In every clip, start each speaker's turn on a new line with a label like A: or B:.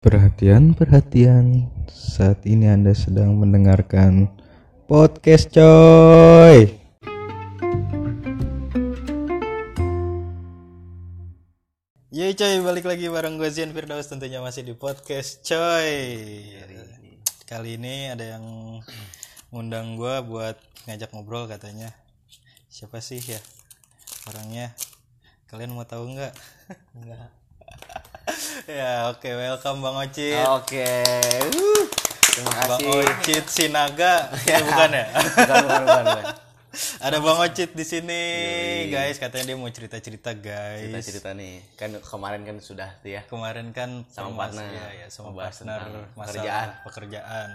A: Perhatian, perhatian. Saat ini Anda sedang mendengarkan podcast coy.
B: Yoi coy, balik lagi bareng gue Zian Firdaus tentunya masih di podcast coy Kali ini ada yang ngundang gue buat ngajak ngobrol katanya Siapa sih ya orangnya? Kalian mau tahu nggak? Enggak Ya oke, welcome Bang Ocit
C: Oke. Wuh. Terima
B: Bang
C: kasih.
B: Ocit Sinaga, Eh, bukan ya?
C: Bukan, bukan, bukan, bukan.
B: ada Bang Ocit di sini guys, katanya dia mau cerita-cerita guys
C: Kita cerita nih. Kan kemarin kan sudah tuh ya.
B: kemarin kan sama
C: partner.
B: ya, sama
C: Membahas
B: partner
C: tentang
B: masalah
C: pekerjaan.
B: pekerjaan.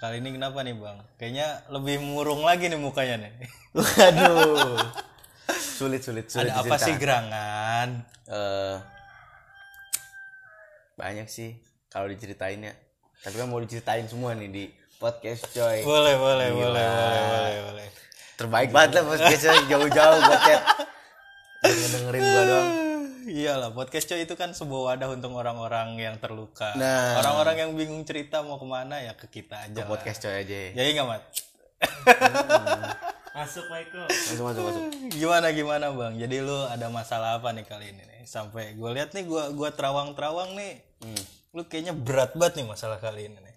B: Kali ini kenapa nih bang? Kayaknya lebih murung lagi nih mukanya nih.
C: Waduh. sulit, sulit, sulit.
B: Ada apa sih
C: diceritakan.
B: gerangan?
C: Eh, banyak sih kalau diceritain ya. Tapi kan mau diceritain semua nih di podcast coy.
B: Boleh boleh boleh boleh boleh boleh.
C: Terbaik banget lah podcast coy. Jauh-jauh buat chat. dengerin gua doang.
B: Iyalah podcast coy itu kan sebuah wadah untuk orang-orang yang terluka,
C: Nah.
B: orang-orang yang bingung cerita mau kemana ya ke kita aja. lah.
C: Podcast coy aja.
B: Jadi nggak mat?
C: Masuk, masuk, masuk.
B: Gimana gimana bang? Jadi lu ada masalah apa nih kali ini? Nih? Sampai gue lihat nih gua gua terawang-terawang nih.
C: Hmm.
B: Lu kayaknya berat banget nih masalah kali ini nih.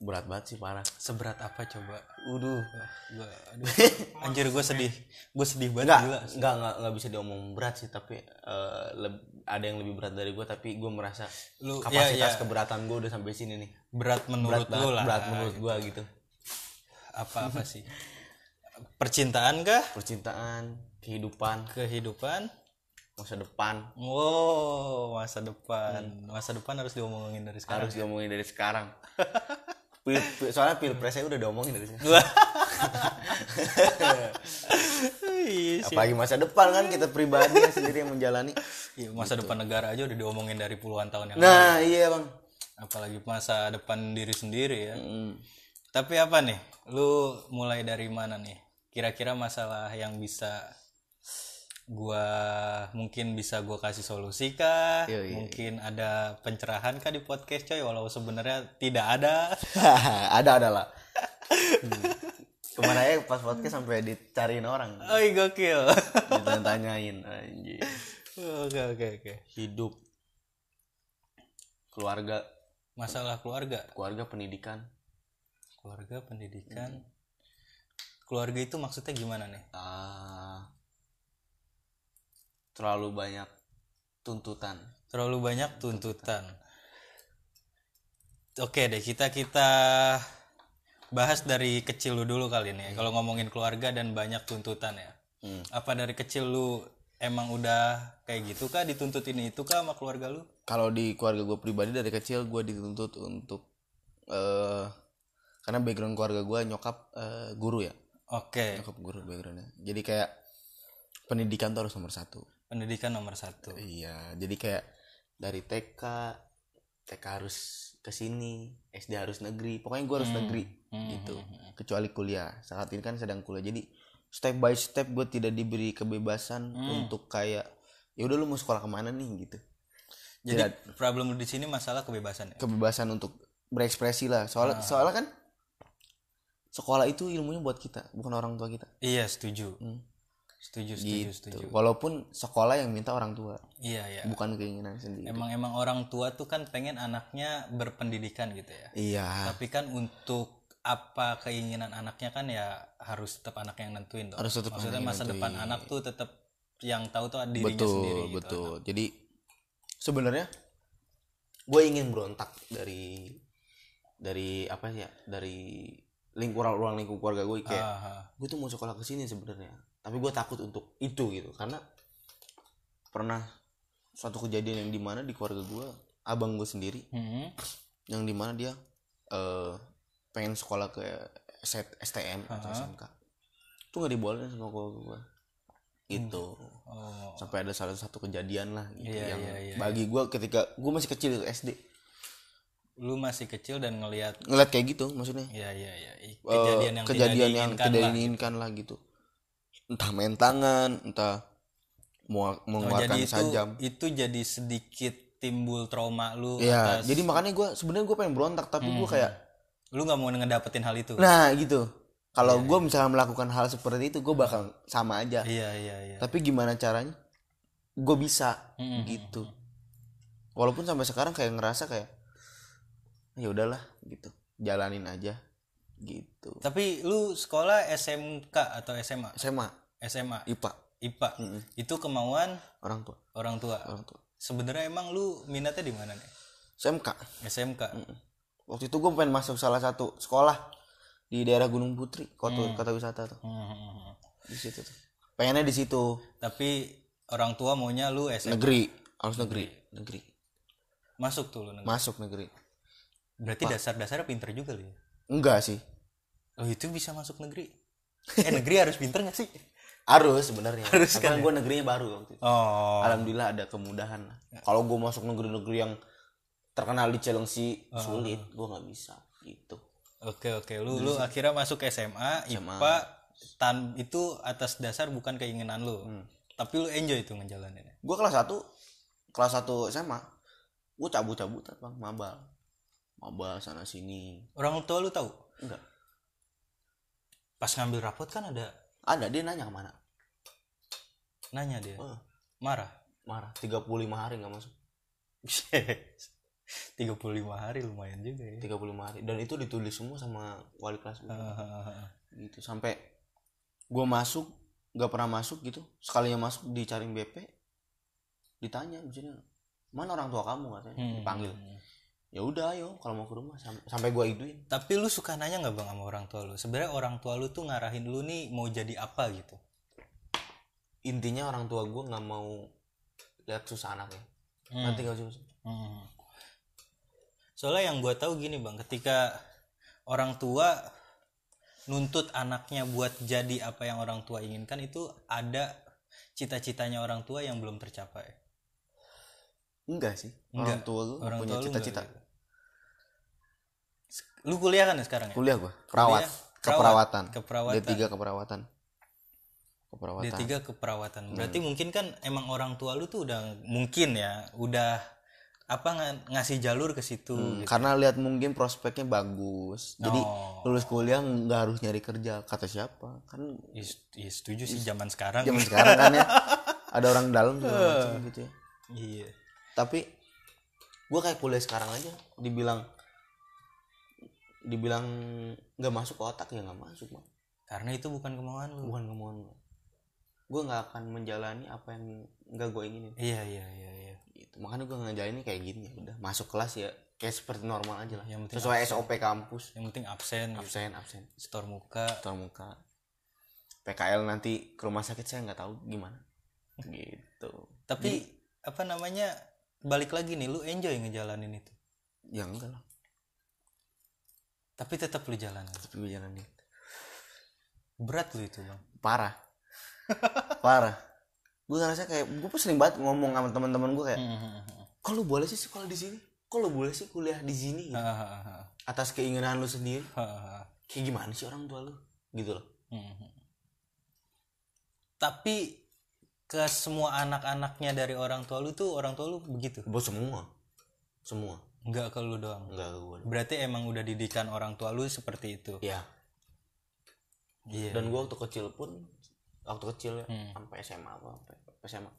C: Berat banget sih parah.
B: Seberat apa coba?
C: Waduh.
B: Gua, aduh, anjir gue sedih. Gue sedih banget
C: Enggak,
B: gila.
C: enggak, enggak, enggak bisa diomong berat sih, tapi eh, leb- ada yang lebih berat dari gue, tapi gue merasa
B: Lu-
C: kapasitas
B: iya, iya.
C: keberatan gue udah sampai sini nih.
B: Berat menurut
C: Berat
B: lu
C: banget,
B: lah.
C: berat menurut gue gitu.
B: Apa-apa sih? Percintaan kah?
C: Percintaan, kehidupan,
B: Kehidupan?
C: masa depan
B: Wow, masa depan.
C: Hmm.
B: Masa depan harus diomongin dari sekarang.
C: harus diomongin dari sekarang. Pil, pil- soalnya pilpresnya udah diomongin dari sekarang.
B: Iya sih.
C: Apalagi masa depan kan kita pribadi yang sendiri yang menjalani.
B: Iya, masa depan negara aja udah diomongin dari puluhan tahun yang lalu.
C: Gitu. Nah, iya bang.
B: Apalagi masa depan diri sendiri ya.
C: Mm.
B: Tapi apa nih? Lu mulai dari mana nih? Kira-kira masalah yang bisa gua mungkin bisa gua kasih solusi kah?
C: Yoi.
B: Mungkin ada pencerahan kah di podcast coy walau sebenarnya tidak ada.
C: ada ada lah. Hmm. Kemarin aja pas podcast sampai dicariin orang,
B: Oi gokil.
C: ditanyain anjir.
B: Oke oke oke.
C: hidup keluarga
B: Masalah keluarga,
C: keluarga pendidikan
B: keluarga pendidikan. Keluarga itu maksudnya gimana nih?
C: ah, terlalu banyak tuntutan
B: Terlalu banyak tuntutan. Oke deh, kita kita bahas dari kecil lu dulu kali ini. ya. Kalau ngomongin keluarga dan banyak tuntutan ya.
C: Hmm.
B: Apa dari kecil lu emang udah kayak gitu kah dituntut ini itu kah sama keluarga lu?
C: kalau di keluarga gue pribadi dari kecil gue dituntut untuk eh karena background keluarga gue nyokap eh, guru ya
B: Oke,
C: nyokap guru backgroundnya jadi kayak pendidikan tuh harus nomor satu
B: pendidikan nomor satu.
C: iya jadi kayak dari TK TK harus kesini SD harus negeri pokoknya gue harus negeri
B: Hmm,
C: gitu kecuali kuliah saat ini kan sedang kuliah jadi step by step gue tidak diberi kebebasan
B: Hmm.
C: untuk kayak ya udah lu mau sekolah kemana nih gitu
B: Jadi problem lu di sini masalah kebebasan ya.
C: kebebasan untuk berekspresi lah soalnya
B: Ah.
C: soalnya kan sekolah itu ilmunya buat kita bukan orang tua kita
B: Iya, setuju. Gitu.
C: Hmm.
B: Setuju, setuju, setuju.
C: Tuh, walaupun sekolah yang minta orang tua
B: Iya, iya.
C: bukan keinginan sendiri
B: Emang emang orang tua tuh kan pengen anaknya berpendidikan gitu ya.
C: iya
B: Tapi kan untuk apa keinginan anaknya kan ya harus tetap anak yang nentuin dong.
C: Harus tetap
B: Maksudnya
C: anak yang
B: masa depan anak tuh tetap yang tahu tuh dirinya sendiri
C: betul
B: gitu.
C: betul jadi sebenarnya gue ingin berontak dari dari apa sih ya dari lingkungan ruang lingkup
B: Ah,
C: keluarga gue kayak
B: Aha.
C: gue tuh mau sekolah ke sini sebenarnya tapi gue takut untuk itu gitu karena pernah suatu kejadian yang dimana di keluarga gue abang gue sendiri
B: Hmm.
C: yang dimana dia eh, pengen sekolah ke S- STM
B: Ah.
C: atau SMK itu nggak dibolehin sama keluarga gue gitu
B: Oh.
C: sampai ada salah satu kejadian lah gitu
B: Iya,
C: yang
B: iya, iya,
C: bagi gue ketika gue masih kecil itu SD
B: Lu masih kecil dan ngelihat
C: ngeliat kayak gitu maksudnya
B: ya ya ya i-
C: Eh,
B: kejadian yang
C: kejadian
B: tidak
C: yang
B: diinginkan
C: tidak
B: lah.
C: diinginkan lah gitu entah main tangan entah
B: Oh,
C: mau mengeluarkan
B: jadi itu
C: sajam
B: itu jadi sedikit timbul trauma lu
C: Iya,
B: atas-
C: jadi makanya gue sebenarnya gue pengen berontak tapi
B: Hmm.
C: gue kayak
B: lu nggak mau ngedapetin hal itu
C: nah gitu. Kalau gue misalnya melakukan hal seperti itu gue bakal sama aja.
B: iya iya iya Hmm,
C: Tapi gimana caranya? Gue bisa
B: Mm-mm.
C: gitu. Walaupun sampai sekarang kayak ngerasa kayak ya udahlah gitu, jalanin aja gitu.
B: tapi lu sekolah SMK atau SMA
C: SMA,
B: SMA
C: IPA,
B: IPA
C: Mm-mm.
B: itu kemauan
C: orang tua,
B: orang tua
C: orang tua.
B: sebenarnya emang lu minatnya di mana nih
C: SMK.
B: SMK
C: Waktu itu gue pengen masuk salah satu sekolah di daerah Gunung Putri, kota kota wisata tuh.
B: Hmm.
C: Di situ tuh. Pengennya di situ,
B: tapi orang tua maunya lu SMA
C: negeri, harus negeri, negeri.
B: masuk tuh lu negeri.
C: Masuk negeri.
B: berarti dasar-dasarnya pinter juga lu ya
C: Enggak sih.
B: oh itu bisa masuk negeri eh negeri harus pinter gak sih
C: Harus sebenarnya.
B: Harus
C: Karena gue negerinya baru waktu itu.
B: oh Ya.
C: Alhamdulillah ada kemudahan. lah. Kalau gue masuk negeri-negeri yang terkenal di Cilengsi
B: Ah.
C: sulit, gue nggak bisa gitu.
B: Oke oke, lu lu akhirnya masuk SMA, IPA tan itu atas dasar bukan keinginan lu. Tapi lu enjoy itu ngejalaninnya.
C: Gue kelas 1 kelas 1 SMA, gue cabut-cabutan bang, mabal, mabal sana sini.
B: Orang tua lu tahu?
C: Enggak,
B: Pas ngambil rapot kan ada
C: ada dia nanya kemana?
B: nanya dia.
C: Oh.
B: Marah.
C: Marah, 35 hari nggak masuk,
B: 35 hari lumayan juga ya.
C: 35 hari. Dan itu ditulis semua sama wali kelas
B: Ah.
C: gue. gitu sampai gue masuk nggak pernah masuk gitu sekalinya masuk dicariin BP ditanya misalnya mana orang tua kamu katanya
B: Hmm.
C: dipanggil ya udah ayo kalau mau ke rumah Sam- sampai gue iduin
B: Tapi lu suka nanya nggak bang sama orang tua lu? Sebenarnya orang tua lu tuh ngarahin lu nih mau jadi apa gitu.
C: intinya orang tua gue nggak mau lihat susah anaknya nanti gak usah
B: Hmm. Soalnya yang gue tahu gini bang, ketika orang tua nuntut anaknya buat jadi apa yang orang tua inginkan itu ada cita-citanya orang tua yang belum tercapai.
C: enggak sih orang
B: Enggak.
C: tua gue
B: Orang
C: punya
B: tua lu
C: cita-cita
B: nggak gitu. Lu kuliah kan ya sekarang ya?
C: kuliah gue perawat
B: Perawat.
C: keperawatan
B: Keperawatan.
C: D3 keperawatan keperawatan
B: D3 keperawatan.
C: Hmm.
B: Berarti mungkin kan emang orang tua lu tuh udah mungkin ya, udah apa nga- ngasih jalur ke situ
C: Hmm,
B: gitu.
C: karena lihat mungkin prospeknya bagus jadi
B: Oh.
C: lulus kuliah nggak harus nyari kerja kata siapa kan
B: Ya, ya setuju sih zaman sekarang.
C: zaman sekarang kan ya ada orang dalam segala macam gitu ya
B: Iya.
C: tapi gue kayak kuliah sekarang aja dibilang dibilang nggak masuk ke otak ya nggak masuk Bang.
B: Karena itu bukan kemauan lu.
C: bukan kemauan gue nggak akan menjalani apa yang nggak gue inginin
B: Iya iya iya iya.
C: gitu. makanya gue ngejalanin kayak gini ya udah masuk kelas ya kayak seperti normal aja lah
B: Yang penting
C: sesuai SOP kampus
B: Yang penting absen, gitu.
C: absen absen
B: Store muka.
C: tatap muka PKL nanti ke rumah sakit saya nggak tahu gimana gitu
B: Tapi apa namanya? Balik lagi nih lu enjoy ngejalanin itu.
C: ya enggak lah
B: Tapi tetap lu jalanin.
C: tapi gue jalanin
B: Berat lu itu, Bang.
C: parah parah gue ngerasa kayak gue sering banget ngomong sama teman-teman gue
B: Hmm,
C: kayak kok lu boleh sih sekolah di sini kok lu boleh sih kuliah di sini
B: Ah.
C: gitu. atas keinginan lu sendiri kayak gimana sih orang tua lu gitu loh
B: Tapi ke semua anak-anaknya dari orang tua lu tuh orang tua lu begitu.
C: buat semua semua
B: Enggak ke lu doang.
C: enggak ke gue
B: Berarti emang udah didikan orang tua lu seperti itu.
C: ya
B: Iya.
C: dan gue waktu kecil pun waktu kecil ya,
B: Hmm.
C: sampai SMA apa sampai sampai SMA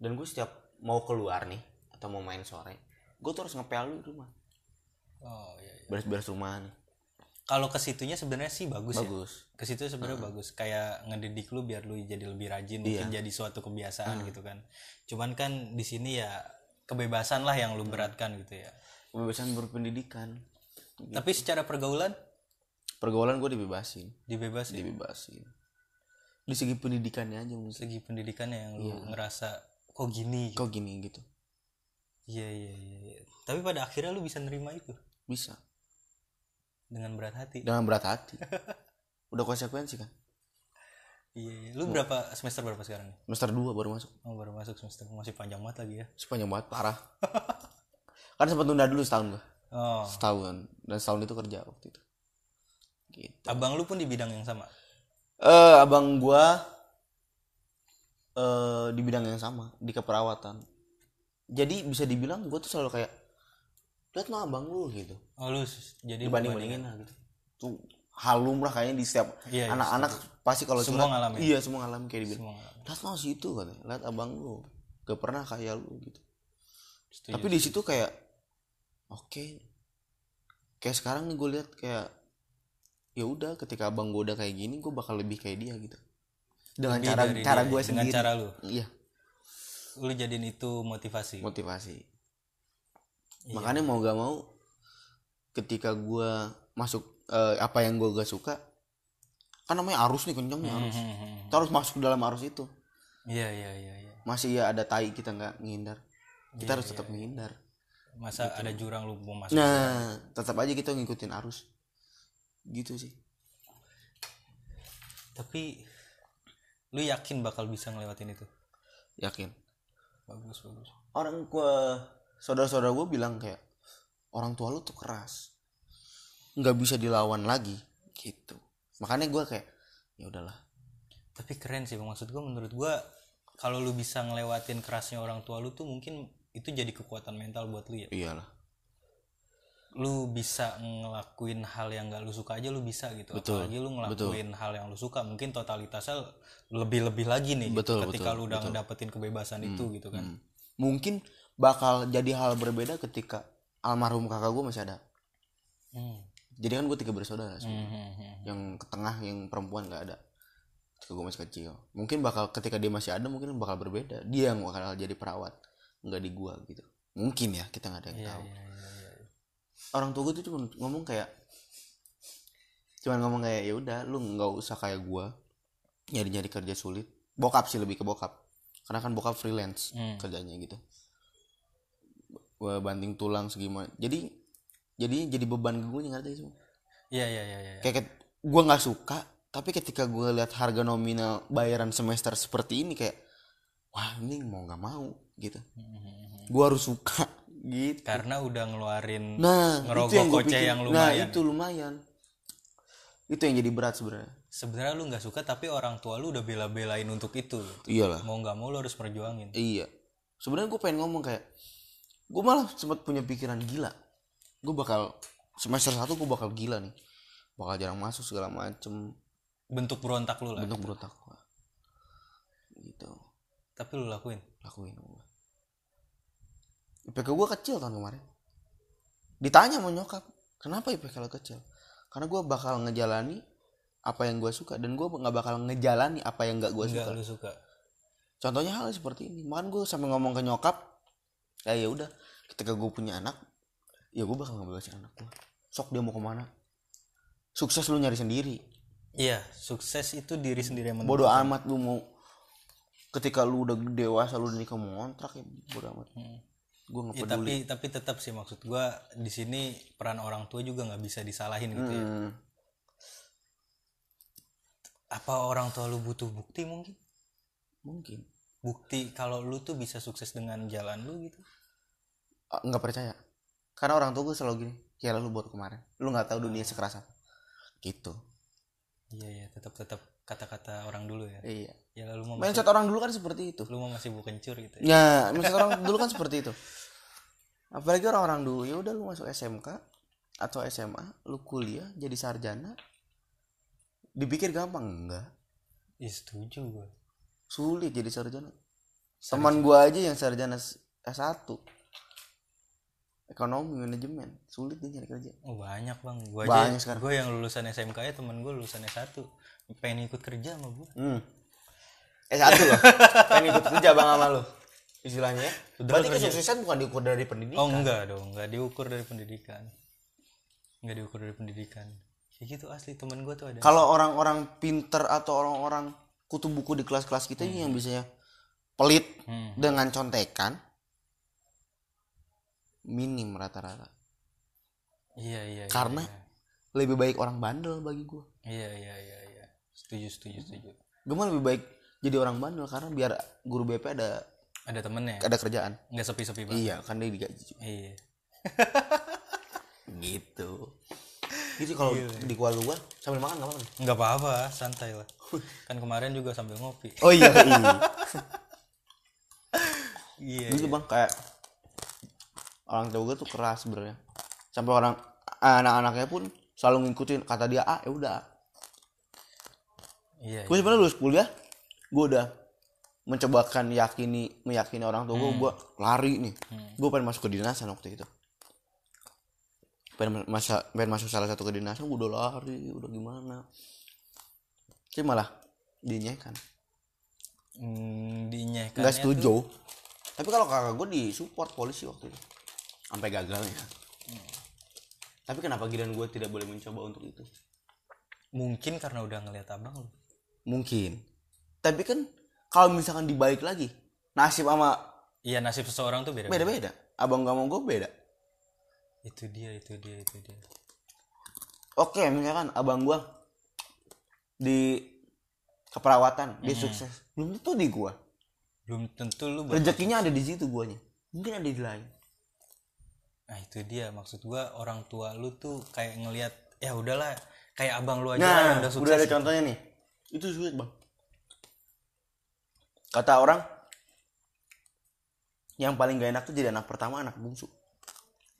C: dan gue setiap mau keluar nih atau mau main sore gue tuh harus ngepel dulu di rumah
B: Oh iya. iya.
C: beres-beres rumah nih
B: Kalau ke situnya sebenarnya sih bagus, Ah. ya.
C: bagus
B: ke situ sebenarnya bagus kayak ngedidik lu biar lu jadi lebih rajin mungkin jadi suatu kebiasaan gitu kan cuman kan di sini ya kebebasan lah yang lu beratkan gitu ya
C: kebebasan berpendidikan
B: tapi secara pergaulan
C: pergaulan gue dibebasin
B: dibebasin
C: dibebasin di segi pendidikannya aja mungkin
B: segi pendidikannya yang lu ngerasa Iya. kok gini
C: kok gini gitu
B: iya iya iya iya. tapi pada akhirnya lu bisa nerima itu
C: bisa
B: dengan berat hati
C: dengan berat hati udah konsekuensi kan
B: iya iya. lu berapa semester berapa sekarang nih?
C: semester 2 baru masuk
B: oh, baru masuk semester masih panjang banget lagi ya
C: sepanjang banget parah kan sempat tunda dulu setahun gue
B: oh
C: setahun dan setahun itu kerja waktu itu gitu
B: abang lu pun di bidang yang sama
C: Eh, abang gua eh di bidang yang sama, di keperawatan. jadi bisa dibilang gue tuh selalu kayak lihat lo abang lu gitu
B: oh lu s- jadi
C: dibanding bandingin lah gitu tuh hal lumrah kayaknya di setiap
B: Iya, iya,
C: anak-anak pasti kalau
B: Semua
C: curhat,
B: ngalamin.
C: iya semua ngalamin kayak dibilang
B: semua nggak-
C: lihat lo situ katanya lihat abang lu gak pernah kayak lu gitu
B: setuju.
C: tapi di situ kayak oke kayak sekarang nih gue lihat kayak ya udah ketika abang gue udah kayak gini gue bakal lebih kayak dia gitu dengan
B: Lebih
C: cara
B: dari
C: cara
B: dia,
C: gue
B: dengan
C: sendiri
B: cara lu
C: iya
B: lu jadiin itu motivasi
C: motivasi
B: Iya.
C: makanya mau gak mau ketika gue masuk eh, apa yang gue gak suka kan namanya arus nih kenceng nih arus
B: Hmm, hmm, hmm.
C: Kita harus masuk ke dalam arus itu
B: iya iya iya iya
C: masih ya ada tai kita nggak menghindar kita
B: Iya,
C: harus
B: iya,
C: tetap
B: iya.
C: menghindar
B: masa ada jurang lu mau masuk
C: nah tetap aja kita ngikutin arus gitu sih
B: tapi lu yakin bakal bisa ngelewatin itu
C: yakin
B: bagus bagus
C: orang gua saudara-saudara gue bilang kayak orang tua lu tuh keras nggak bisa dilawan lagi gitu makanya gue kayak ya udahlah
B: tapi keren sih Bang. maksud gue menurut gue kalau lu bisa ngelewatin kerasnya orang tua lu tuh mungkin itu jadi kekuatan mental buat lu ya
C: iyalah
B: lu bisa ngelakuin hal yang gak lu suka aja lu bisa gitu
C: Betul,
B: apalagi lu ngelakuin hal yang lu suka mungkin totalitasnya lebih lebih lagi nih gitu,
C: Betul,
B: ketika
C: betul,
B: lu udah dapetin kebebasan itu gitu kan
C: Hmm. mungkin bakal jadi hal berbeda ketika almarhum kakak gue masih ada
B: Hmm.
C: jadi kan gue tiga bersaudara
B: Hmm,
C: semua.
B: hmm, hmm.
C: yang ke tengah yang perempuan nggak ada ketika gue masih kecil mungkin bakal ketika dia masih ada mungkin bakal berbeda dia yang bakal jadi perawat nggak di gua gitu mungkin ya kita nggak ada yang
B: Iya,
C: tahu
B: iya, iya, iya.
C: orang tua gue tuh cuma ngomong kayak cuman ngomong kayak ya udah lu nggak usah kayak gua nyari nyari kerja sulit bokap sih lebih ke bokap karena kan bokap freelance
B: Hmm.
C: kerjanya gitu Gua banting tulang segimana jadi jadi jadi beban ke gue ngerti semua
B: Iya, iya, iya, iya.
C: kayak ket- gua nggak suka tapi ketika gua lihat harga nominal bayaran semester seperti ini kayak wah ini mau nggak mau gitu
B: Hmm, hmm, hmm.
C: gua harus suka gitu
B: karena udah ngeluarin
C: nah
B: Kan. Ngerogoh
C: itu yang gua
B: kocek
C: pikir.
B: yang
C: nah
B: lumayan.
C: itu lumayan itu yang jadi berat sebenarnya
B: sebenarnya lu nggak suka tapi orang tua lu udah bela-belain untuk itu gitu.
C: iyalah
B: mau nggak mau lu harus perjuangin
C: iya sebenarnya gue pengen ngomong kayak gue malah sempat punya pikiran gila gue bakal semester satu gue bakal gila nih bakal jarang masuk segala macem
B: bentuk berontak lu lah
C: bentuk berontak gua gitu
B: tapi lu lakuin
C: lakuin gua. IPK gue kecil tahun kemarin ditanya sama nyokap kenapa IPK lo kecil karena gue bakal ngejalani apa yang gue suka dan gue nggak bakal ngejalani apa yang nggak gue
B: nggak
C: suka
B: lu suka
C: contohnya hal seperti ini makan gue sampai ngomong ke nyokap ya ya udah ketika gue punya anak ya gue bakal ngebebasin anak gue sok dia mau kemana sukses lu nyari sendiri
B: iya sukses itu diri sendiri yang Iya,
C: bodoh amat lu mau ketika lu udah dewasa lu udah nikah mau ngontrak ya bodoh amat gue nggak
B: Ya,
C: peduli
B: tapi tapi tetap sih maksud gua di sini peran orang tua juga nggak bisa disalahin gitu ya.
C: Hmm,
B: Apa orang tua lu butuh bukti mungkin?
C: mungkin
B: Bukti kalau lu tuh bisa sukses dengan jalan lu gitu.
C: Ah, nggak percaya karena orang tua gue selalu gini ya lu buat kemarin lu nggak tahu dunia sekeras apa gitu
B: Iya iya tetap tetap kata-kata orang dulu ya.
C: iya
B: Ya lu mau
C: mindset orang dulu kan seperti itu
B: lu mau masih bukencur gitu. Ya.
C: ya mindset orang dulu kan seperti itu apalagi orang-orang dulu ya udah lu masuk SMK atau SMA lu kuliah jadi sarjana dipikir gampang enggak
B: Ih, Iya, setuju gua.
C: sulit jadi sarjana teman gue aja yang sarjana S1 ekonomi manajemen sulit dia nyari kerja
B: Oh, banyak bang. Gua
C: Banyak
B: aja,
C: sekarang.
B: gua yang lulusan SMK ya temen gua lulusan S1 pengen ikut kerja sama gua.
C: Hmm. S1 loh. Pengen ikut kerja bang sama lu. Istilahnya. ya. Berarti kesuksesan bukan diukur dari pendidikan.
B: Oh enggak dong, enggak diukur dari pendidikan. Enggak diukur dari pendidikan. Kayak gitu asli temen gua tuh ada.
C: Kalau orang-orang pinter atau orang-orang kutu buku di kelas-kelas kita ini yang biasanya pelit
B: Hmm.
C: dengan contekan minim rata-rata.
B: Iya iya. iya,
C: Karena
B: iya.
C: lebih baik orang bandel bagi gua.
B: Iya iya iya iya. Setuju setuju setuju.
C: Gue mah lebih baik jadi orang bandel karena biar guru BP ada
B: Ada temennya.
C: ada kerjaan.
B: Nggak sepi-sepi banget.
C: Iya, kan dia digaji juga.
B: Iya.
C: Gitu. Jadi kalau di keluarga gua sambil makan enggak apa-apa. nih?
B: Nggak apa-apa, santai lah. Kan kemarin juga sambil ngopi.
C: Oh iya. iya.
B: Iya.
C: gitu bang kayak orang tua gue tuh keras sebenarnya sampai orang anak-anaknya pun selalu ngikutin kata dia ah ya udah
B: Iya.
C: gue sebenarnya lulus kuliah gue udah mencobakan yakini meyakini orang tua
B: Hmm.
C: gue gue lari nih gue pengen masuk ke dinasan waktu itu pengen masa pengen masuk salah satu kedinasan gue udah lari udah gimana sih malah dinyekan
B: Hmm, diinyekannya
C: nggak
B: tuh-
C: setuju tapi kalau kakak gue di support polisi waktu itu sampai gagalnya tapi kenapa giran gue tidak boleh mencoba untuk itu
B: Mungkin karena udah ngelihat abang lu.
C: mungkin tapi kan kalau misalkan dibalik lagi nasib sama
B: Iya nasib seseorang tuh beda.
C: beda beda abang gak mau gue beda
B: Itu dia, itu dia, itu dia.
C: oke misalkan abang gue di keperawatan dia sukses belum tentu di gue
B: Belum tentu lu bak-
C: rezekinya ada di situ guanya mungkin ada di lain
B: Nah, itu dia maksud gua orang tua lu tuh kayak ngelihat ya udahlah kayak abang lu aja lah yang
C: Nah,
B: udah
C: udah,
B: sukses.
C: ada contohnya nih. Itu sulit, Bang. Kata orang yang paling gak enak tuh jadi anak pertama, anak bungsu.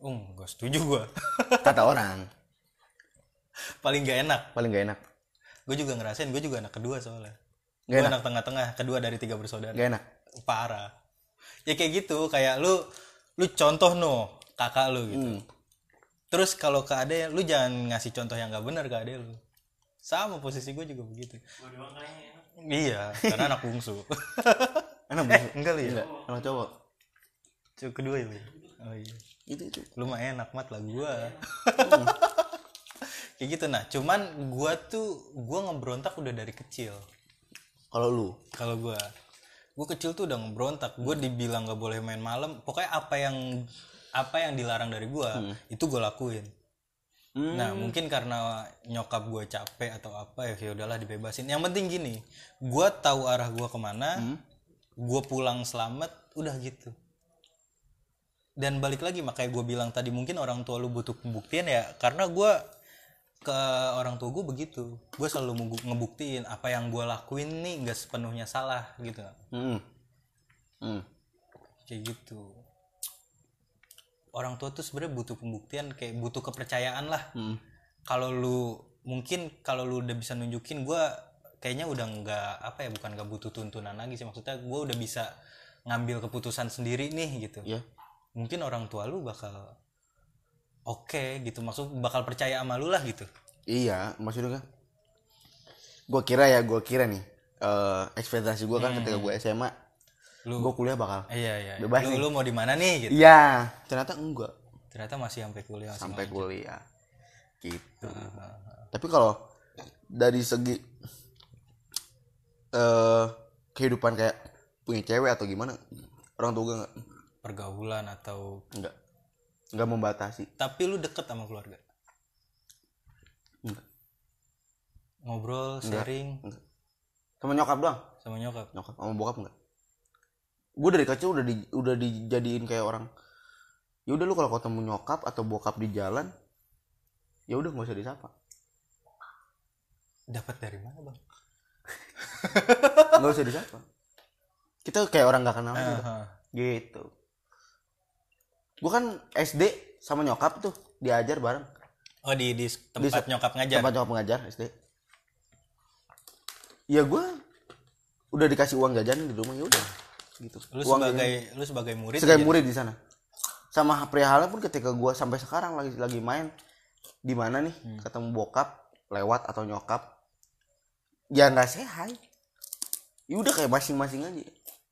B: Um, gak setuju gua.
C: Kata orang,
B: Paling gak enak.
C: paling gak enak.
B: Gue juga ngerasain, gue juga anak kedua soalnya. Gue
C: Gak enak.
B: anak tengah-tengah, kedua dari tiga bersaudara.
C: Gak enak.
B: Parah. Ya kayak gitu, kayak lu lu contoh no kakak lu
C: Hmm.
B: gitu. Terus kalau ke ade lu jangan ngasih contoh yang gak benar ke ade lu. Sama posisi gue juga begitu. Iya, karena anak bungsu. eh,
C: Anak bungsu.
B: enggak lu ya?
C: Enggak, anak cowok.
B: Cuk kedua ya. Lu ya? Oh iya.
C: Itu itu.
B: Lu mah enak mat lah gua. Kayak gitu nah, cuman gua tuh gua ngebrontak udah dari kecil.
C: Kalau lu,
B: kalau gua gue kecil tuh udah ngebrontak gue dibilang gak boleh main malam pokoknya apa yang apa yang dilarang dari gua itu gue lakuin
C: Hmm.
B: nah mungkin karena nyokap gue capek atau apa ya ya udahlah dibebasin yang penting gini gua tahu arah gua kemana gua pulang selamat udah gitu dan balik lagi makanya gue bilang tadi mungkin orang tua lu butuh pembuktian ya karena gua ke orang tua gue begitu gue selalu ngebu- ngebuktiin apa yang gue lakuin nih nggak sepenuhnya salah gitu
C: hmm. Hmm.
B: kayak gitu orang tua tuh sebenarnya butuh pembuktian kayak butuh kepercayaan lah
C: Hmm.
B: kalau lu mungkin kalau lu udah bisa nunjukin gua kayaknya udah nggak apa ya bukan nggak butuh tuntunan lagi sih maksudnya gua udah bisa ngambil keputusan sendiri nih gitu
C: Iya.
B: mungkin orang tua lu bakal oke gitu maksud bakal percaya sama lu lah gitu
C: Iya, maksudnya kan. Gue kira ya, gue kira nih. eh ekspektasi gue
B: Hmm.
C: kan ketika gue SMA,
B: Lu-
C: gue kuliah bakal.
B: iya iya iya.
C: Bebas
B: lu,
C: nih.
B: lu mau di mana nih gitu
C: Iya, ternyata enggak.
B: ternyata masih sampai kuliah masih Nah.
C: Iya.
B: eh,
C: sampai kuliah gitu tapi kalau dari segi eh kehidupan kayak punya cewek atau gimana orang tua gue nggak
B: pergaulan atau
C: nggak nggak membatasi
B: tapi lu deket sama keluarga
C: Enggak.
B: ngobrol sharing
C: sama nyokap doang
B: sama nyokap
C: nyokap sama bokap nggak gue dari kecil udah di, udah dijadiin kayak orang ya udah lu kalau ketemu nyokap atau bokap di jalan ya udah nggak usah disapa
B: dapat dari mana bang
C: nggak usah disapa kita kayak orang nggak
B: Ah,
C: kenal aja.
B: Aha.
C: gitu gue kan SD sama nyokap tuh diajar bareng
B: oh di di tempat
C: se-
B: nyokap ngajar
C: tempat nyokap ngajar SD ya gue udah dikasih uang jajan di rumah ya udah gitu
B: lu
C: uang
B: sebagai
C: jajan.
B: lu sebagai murid gitu?
C: sebagai
B: aja.
C: murid di sana sama perihalnya pun ketika gue sampai sekarang lagi lagi main di mana nih
B: Hmm.
C: ketemu bokap lewat atau nyokap ya nggak sehat ya udah kayak masing-masing aja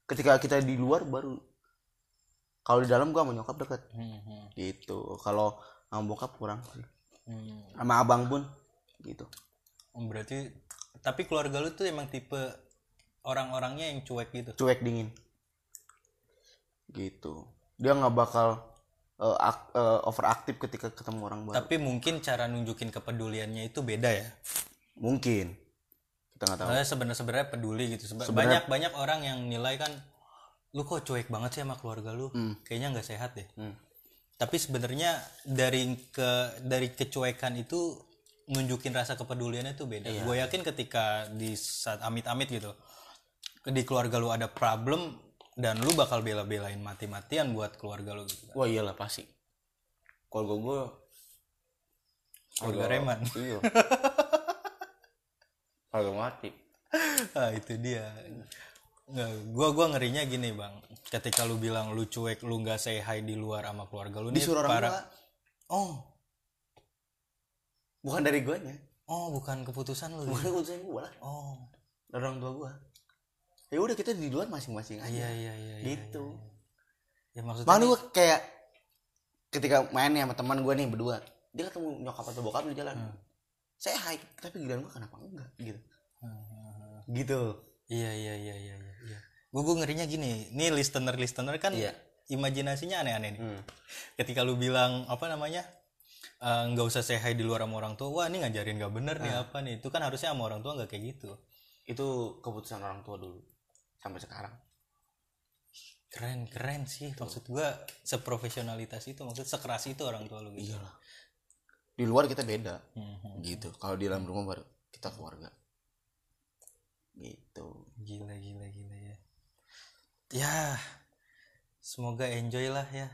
C: ketika kita di luar baru kalau di dalam gue sama nyokap deket
B: Hmm, hmm,
C: gitu kalau sama bokap kurang sih
B: hmm.
C: sama abang pun gitu
B: Oh, berarti tapi keluarga lu tuh emang tipe orang-orangnya yang cuek gitu
C: cuek dingin gitu dia nggak bakal eh, ak- eh, overaktif ketika ketemu orang baru
B: tapi mungkin cara nunjukin kepeduliannya itu beda ya
C: mungkin kita nggak tahu
B: Soalnya sebenarnya sebenarnya peduli gitu. Sebe-
C: Sebenarnya-
B: Banyak banyak orang yang nilai kan lu kok cuek banget sih sama keluarga lu. Kayaknya nggak sehat deh.
C: Hmm.
B: Tapi sebenarnya dari ke dari kecuekan itu nunjukin rasa kepeduliannya tuh beda. Gue yakin ketika di saat amit-amit gitu di keluarga lu ada problem, dan lu bakal bela-belain mati-matian buat keluarga lu gitu kan.
C: Wah iyalah pasti. Keluarga gue
B: Keluarga Reman.
C: Iya. Kagak mati.
B: Ah, itu dia. Nggak, gua gua ngerinya gini, Bang. Ketika lu bilang lu cuek, lu nggak say hi di luar sama keluarga lu nih
C: Disuruh orang
B: para
C: tua.
B: Oh,
C: Bukan dari guanya.
B: oh bukan keputusan lu.
C: Bukan keputusan gue lah.
B: Oh,
C: Dari orang tua gue. Ya udah kita di luar masing-masing aja.
B: iya iya iya. iya,
C: gitu.
B: iya. Ya maksudnya
C: Makanya gue kayak ketika main nih sama teman gue nih berdua, dia ketemu nyokap atau bokap di jalan.
B: Hmm.
C: Saya hai, tapi giliran gue kenapa enggak gitu.
B: Hmm, hmm, hmm.
C: Gitu.
B: Iya iya iya iya iya. iya. Gua gua ngerinya gini, nih listener-listener kan
C: Iya.
B: imajinasinya aneh-aneh nih.
C: Hmm.
B: Ketika lu bilang apa namanya? eh, nggak usah say hi di luar sama orang tua. Wah, ini ngajarin nggak bener nih apa nih. Itu kan harusnya sama orang tua nggak kayak gitu.
C: Itu keputusan orang tua dulu sampai sekarang.
B: keren keren sih maksud gua seprofesionalitas itu maksud sekeras itu orang tua lu gitu
C: Iyalah. Di luar kita beda
B: Mhm.
C: gitu. Kalau di dalam rumah baru kita keluarga. Gitu.
B: gila gila gila ya ya semoga enjoy lah ya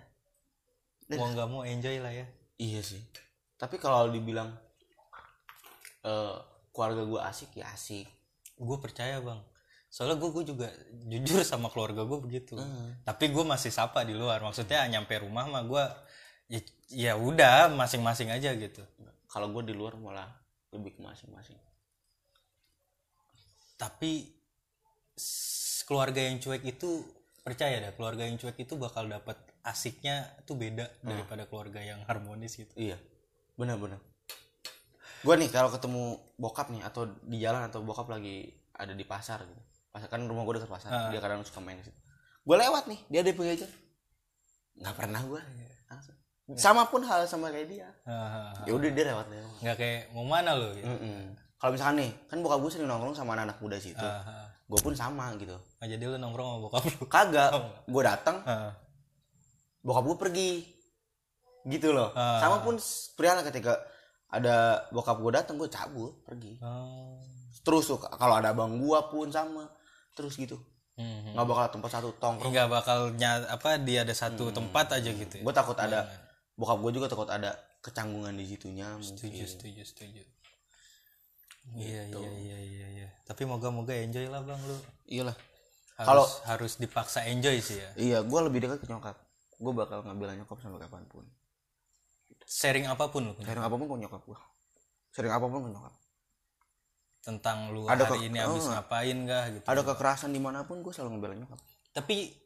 B: mau nggak mau enjoy lah ya
C: Iya sih. Tapi kalau dibilang eh keluarga gue asik ya asik.
B: gue percaya bang soalnya gue juga jujur sama keluarga gue begitu
C: Hmm.
B: tapi gue masih sapa di luar maksudnya nyampe rumah mah gua ya, ya udah masing-masing aja gitu
C: Kalau gue di luar malah lebih ke masing-masing.
B: tapi s- keluarga yang cuek itu percaya dah keluarga yang cuek itu bakal dapat asiknya tuh beda daripada keluarga yang harmonis gitu
C: Iya, benar-benar. Gue nih kalau ketemu bokap nih atau di jalan atau bokap lagi ada di pasar gitu. Pasar kan rumah gue dekat pasar. Dia kadang suka main ke situ. Gue lewat nih, dia ada di pengejar. Nggak pernah gue. Langsung. Sama pun hal sama kayak dia.
B: Hahaha.
C: Ya udah dia lewat lewat.
B: nggak kayak mau mana lo
C: Hmm,
B: gitu.
C: Mm-mm. Kalau misalkan nih, kan bokap gue sering nongkrong sama anak-anak muda situ.
B: Hahaha.
C: Gue pun sama gitu.
B: Nah, Ah, jadi lo nongkrong sama bokap lo
C: Kagak, gue datang,
B: Heeh.
C: bokap gue pergi gitu loh
B: Ah.
C: sama pun Priana ketika ada bokap gue datang gue cabut pergi
B: Oh.
C: terus tuh kalau ada abang gue pun sama terus gitu
B: Mhm.
C: nggak bakal tempat satu tongkrong
B: nggak bakal nya- apa dia ada satu tempat aja gitu ya.
C: gue takut ada bokap gue juga takut ada kecanggungan di situnya
B: setuju
C: mungkin
B: setuju setuju iya iya iya iya iya tapi moga-moga enjoy lah bang lu
C: iyalah
B: harus
C: Kalau-
B: harus dipaksa enjoy sih ya
C: iya gue lebih dekat ke nyokap gue bakal ngambil nyokap sampai kapanpun
B: sharing apapun lu
C: sering apapun ke nyokap gue sering apapun ke nyokap
B: tentang lu
C: Ada
B: hari
C: ke-
B: ini habis
C: oh.
B: ngapain gak gitu.
C: ada kekerasan dimanapun gue selalu ngebela nyokap
B: Tapi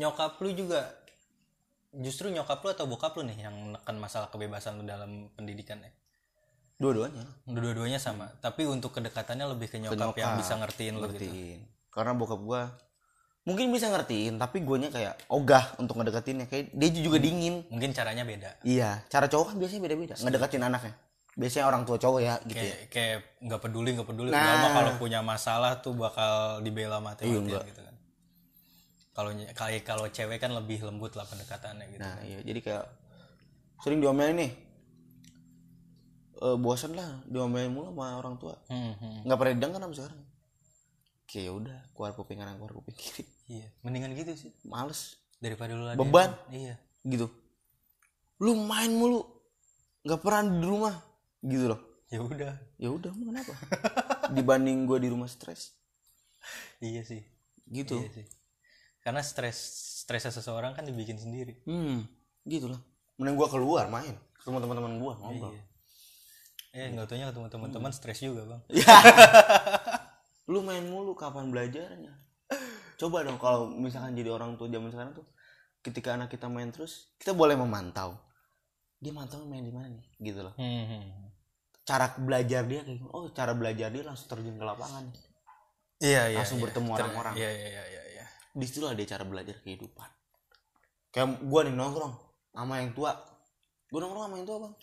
B: nyokap lu juga justru nyokap lu atau bokap lu nih yang menekan masalah kebebasan lu dalam pendidikan ya.
C: dua-duanya
B: Dua-duanya sama, tapi untuk kedekatannya lebih ke nyokap,
C: nyokap.
B: yang bisa ngertiin lu gitu.
C: ngertiin karena bokap gua mungkin bisa ngertiin tapi guanya kayak ogah untuk ngedekatinnya kayak dia juga dingin
B: Mungkin caranya beda.
C: iya cara cowok kan biasanya beda-beda ngedekatin anaknya biasanya orang tua cowok ya gitu ya
B: Kayak kayak nggak peduli nggak peduli.
C: Nah. Iya,
B: Padahal mah kalau punya masalah tuh bakal dibela mati-matian
C: enggak.
B: gitu kan. Kalau ny- kayak kalau cewek kan lebih lembut lah pendekatannya gitu.
C: nah iya jadi kayak sering diomelin nih Eh bosan lah diomelin mulu sama orang tua
B: Hmm, hmm.
C: nggak pernah didengar sama sekarang kayak ya udah keluar kuping kanan keluar kuping kiri
B: Iya, mendingan gitu sih
C: males
B: daripada lu ladenin.
C: Beban.
B: Iya.
C: gitu lu main mulu nggak pernah di rumah gitu loh
B: Ya udah.
C: ya udah emang kenapa dibanding gue di rumah stres
B: Iya sih.
C: gitu
B: Iya sih. Karena stres stresnya seseorang kan dibikin sendiri.
C: hmm gitu lah mending gue keluar main ketemu teman-teman gue ngobrol
B: Iya. Eh nggak taunya ketemu teman-teman stres juga bang.
C: lu main mulu kapan belajarnya coba dong kalau misalkan jadi orang tua zaman sekarang tuh ketika anak kita main terus kita boleh memantau dia mantau main di mana nih gitu loh cara belajar dia kayak gini. oh cara belajar dia langsung terjun ke lapangan
B: Iya iya.
C: Langsung
B: iya.
C: bertemu
B: Ter-
C: orang-orang.
B: Iya iya iya iya, iya.
C: disitulah dia cara belajar kehidupan kayak gue nih nongkrong sama yang tua gue nongkrong sama yang tua bang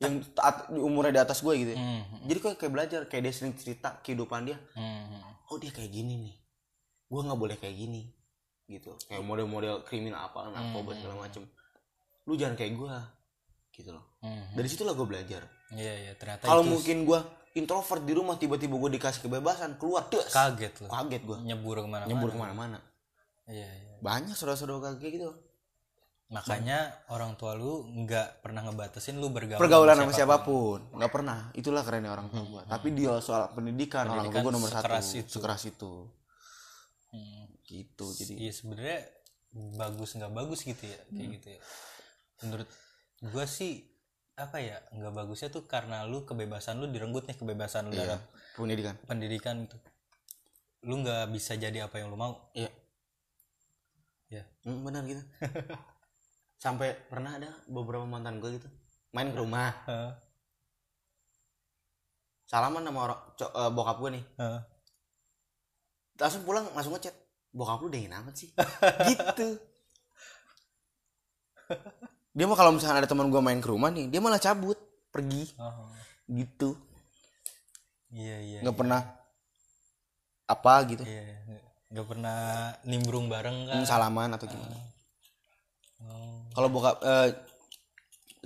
C: yang taat- di umurnya di atas gue gitu ya.
B: Hmm,
C: jadi gue kayak belajar kayak dia sering cerita kehidupan dia
B: hmm, hmm.
C: oh dia kayak gini nih gue nggak boleh kayak gini gitu kayak model-model kriminal apa
B: Hmm,
C: narkoba segala macem lu jangan kayak gue gitu loh
B: Hmm, hmm.
C: dari situlah gue belajar
B: Iya iya ternyata
C: kalau
B: itu
C: mungkin gue introvert di rumah tiba-tiba gue dikasih kebebasan keluar tuh
B: kaget loh.
C: kaget gue
B: Nyebur kemana-mana.
C: nyembur kemana-mana
B: Iya, iya.
C: banyak saudara-saudara kakak kayak gitu
B: Makanya orang tua lu nggak pernah ngebatasin lu bergaul
C: pergaulan sama siapapun nggak pernah itulah kerennya orang tua gua tapi dia soal pendidikan, orang tua
B: Hmm. Pendidikan
C: gua nomor
B: sekeras
C: satu
B: itu.
C: sekeras itu
B: Hmm.
C: gitu jadi
B: Iya sebenarnya bagus nggak bagus gitu ya kayak
C: Hmm.
B: gitu ya. Menurut gua sih apa ya nggak bagusnya tuh karena lu kebebasan lu direnggut nih kebebasan lu
C: Iya.
B: dalam
C: pendidikan
B: pendidikan itu. Lu nggak bisa jadi apa yang lu mau.
C: Iya.
B: Iya.
C: Hmm, benar gitu. Sampai pernah ada beberapa mantan gue gitu main ke rumah,
B: Heeh.
C: salaman sama orang co- eh, bokap gue nih.
B: Heeh.
C: Langsung pulang langsung ngechat. Bokap lu dingin amat sih. gitu. Dia mah kalau misalnya ada teman gue main ke rumah nih, dia malah cabut, pergi
B: Oh,
C: gitu.
B: Iya iya.
C: Nggak pernah apa gitu.
B: Iya. iya. Nggak pernah nimbrung bareng kan.
C: Hmm, Salaman atau gimana.
B: Oh.
C: kalau bokap eh,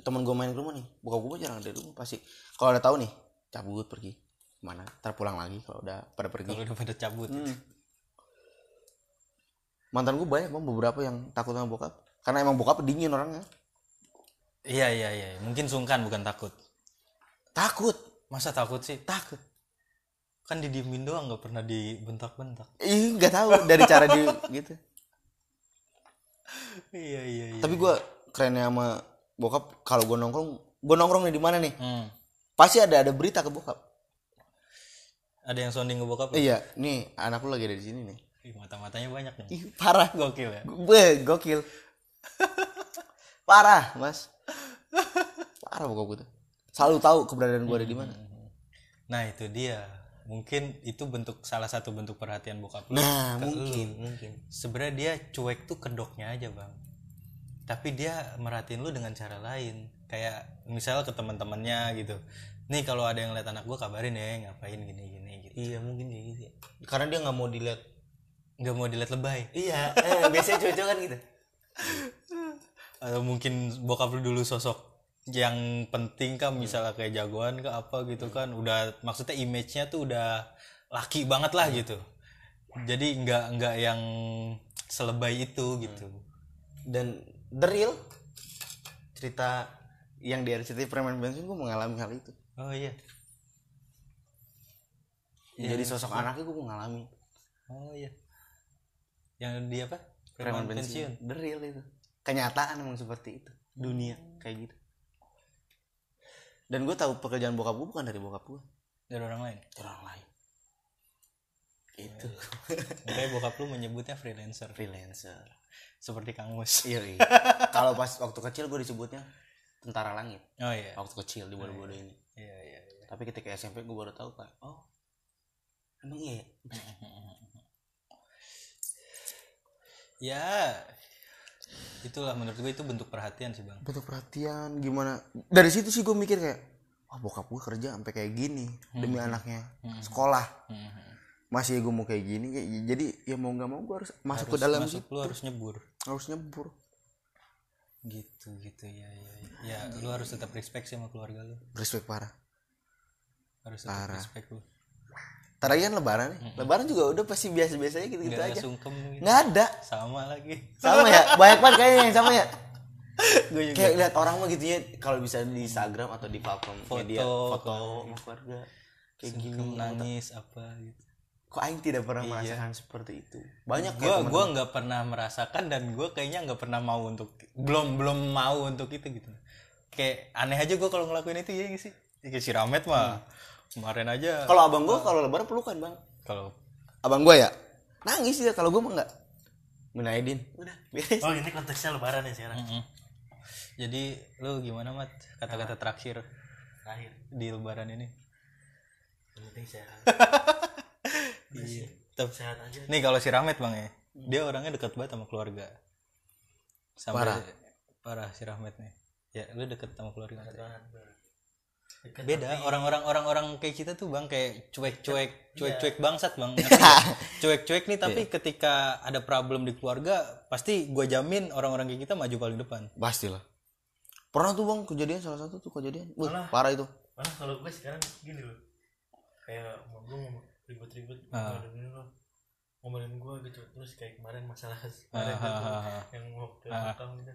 C: temen gue main ke rumah nih bokap gue jarang dari rumah pasti kalau udah tahu nih cabut pergi mana ntar pulang lagi kalau udah pada pergi
B: Kalau udah pada cabut.
C: Hmm. mantan gue banyak bang beberapa yang takut sama bokap karena emang bokap dingin orangnya
B: Iya iya iya. Mungkin sungkan bukan takut.
C: takut
B: Masa takut sih? Takut. Kan didiemin doang nggak pernah dibentak-bentak.
C: ih nggak tahu dari cara dia gitu
B: Iya iya iya.
C: tapi gue kerennya sama bokap kalau gue nongkrong gue nongkrong nih di mana nih
B: Hmm.
C: pasti ada ada berita ke bokap
B: Ada yang sounding ke bokap lu?
C: iya nih anak lu lagi ada di sini nih
B: Ih, mata-matanya banyak nih.
C: ih parah
B: Gokil ya.
C: Gue gokil. Parah, Mas. Parah bokap gue tuh. Selalu tahu keberadaan gue ada di mana.
B: Nah, itu dia. Mungkin itu bentuk salah satu bentuk perhatian bokap lu.
C: Nah,
B: ke
C: mungkin,
B: lu.
C: mungkin.
B: Sebenarnya dia cuek tuh kedoknya aja, Bang. Tapi dia merhatiin lu dengan cara lain. Kayak misalnya ke teman-temannya gitu. Nih kalau ada yang lihat anak gua kabarin ya, ngapain gini-gini gitu.
C: Iya, mungkin kayak gitu. ya. Karena dia nggak mau dilihat.
B: Nggak mau dilihat lebay.
C: Iya, eh, biasanya cocok kan gitu.
B: atau mungkin bokap lu dulu sosok yang penting kan misalnya kayak jagoan ke apa gitu kan udah maksudnya image-nya tuh udah laki banget lah gitu jadi nggak nggak yang selebay itu gitu
C: Dan the real cerita yang di RCTI Preman Bensin gue mengalami hal itu.
B: oh iya
C: Jadi sosok anaknya gue mengalami.
B: oh iya yang di apa
C: Preman
B: Preman
C: Bensin. The real itu. Kenyataan emang seperti itu. Dunia kayak gitu. Dan gue tahu pekerjaan bokap gue bukan dari bokap gue.
B: dari orang lain
C: orang lain Iya. itu
B: makanya bokap lu menyebutnya freelancer
C: freelancer
B: seperti kangus
C: iri kalau pas waktu kecil gue disebutnya tentara langit Eh,
B: oh iya
C: waktu kecil di bodoh bodoh ini
B: iya iya iya.
C: tapi ketika SMP gue baru tahu kan oh emang iya ya?
B: ya itulah menurut gue itu bentuk perhatian sih bang
C: bentuk perhatian gimana dari situ sih gue mikir kayak wah bokap gue kerja sampai kayak gini demi anaknya sekolah
B: Hmm.
C: masih gue mau kayak gini kayak jadi ya mau nggak mau gue harus masuk ke dalam
B: masuk
C: gitu.
B: lu harus nyebur
C: harus nyebur
B: gitu gitu ya ya ya lu harus tetap respect sih sama keluarga lu
C: respect parah
B: harus tetap respect lu
C: Ntar lagi kan lebaran nih lebaran juga udah pasti biasa biasanya gitu gitu
B: nggak
C: aja
B: sungkem gitu.
C: nggak ada
B: sama lagi
C: sama ya banyak banget kayaknya yang sama ya
B: gue juga
C: kayak lihat orang mah gitunya kalau bisa di Instagram atau di platform media foto sama keluarga kayak gini
B: sungkem nangis apa gitu
C: kok aing tidak pernah merasakan seperti itu banyak
B: gue Iya. gua nggak pernah merasakan dan gue kayaknya nggak pernah mau untuk belum belum mau untuk itu gitu kayak aneh aja gue kalau ngelakuin itu ya nggak sih Ya, kayak si Ramet
C: Hmm.
B: mah kemarin aja
C: kalau abang gua kalau lebaran pelukan bang
B: kalau
C: abang gua ya nangis ya kalau gua mah enggak Munaidin udah beres
B: iya.
D: Oh ini konteksnya lebaran ya sekarang
B: Mm-mm. jadi lu gimana mat kata-kata terakhir
D: Terakhir
B: di lebaran ini
D: Yang penting sehat
B: Iya. Tapi
D: Sehat aja
B: nih kalau si Rahmat bang ya, dia orangnya dekat banget sama keluarga. Sampai parah, si Rahmat nih. Ya, lu deket sama keluarga.
D: banget Deket
B: Beda orang-orang orang-orang kayak kita tuh bang kayak
D: Iya.
B: cuek-cuek cuek-cuek bangsat bang. Cuek-cuek nih tapi ketika ada problem di keluarga pasti gua jamin orang-orang kayak kita maju paling depan.
C: pastilah pernah tuh bang kejadian salah satu tuh kejadian Wih, parah itu
D: Malah kalau
B: Ah.
D: gue sekarang gini loh Kayak mau gue mau ribut-ribut Gak ada gini loh ngomongin gue gitu terus kayak kemarin masalah
C: Ah,
D: kemarin itu,
B: Hahaha.
D: yang mau ke
B: Ah.
D: Hongkong gitu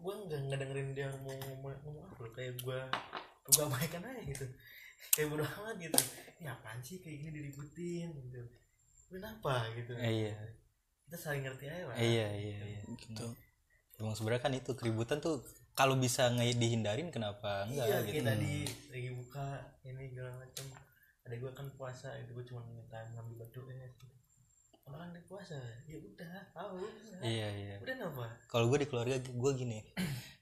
D: gue nggak ngedengerin dia ngomong ngomong, ngomong apa loh, kayak gue gue baikan aja gitu kayak bodo amat gitu ini apaan sih kayak gini diributin gitu kenapa gitu
B: Iya,
D: kita saling ngerti aja lah
B: iya, iya, iya.
C: gitu
B: Emang sebenarnya kan itu keributan tuh kalau bisa nge- dihindarin kenapa enggak
D: iya
B: gitu.
D: kayak tadi lagi buka ini segala macam ada gue kan puasa itu gue cuma minta ngambil batu ya orang kan puasa ya udah tahu
B: Iya, iya.
D: udah kenapa
B: Kalau gue di keluarga gue gini.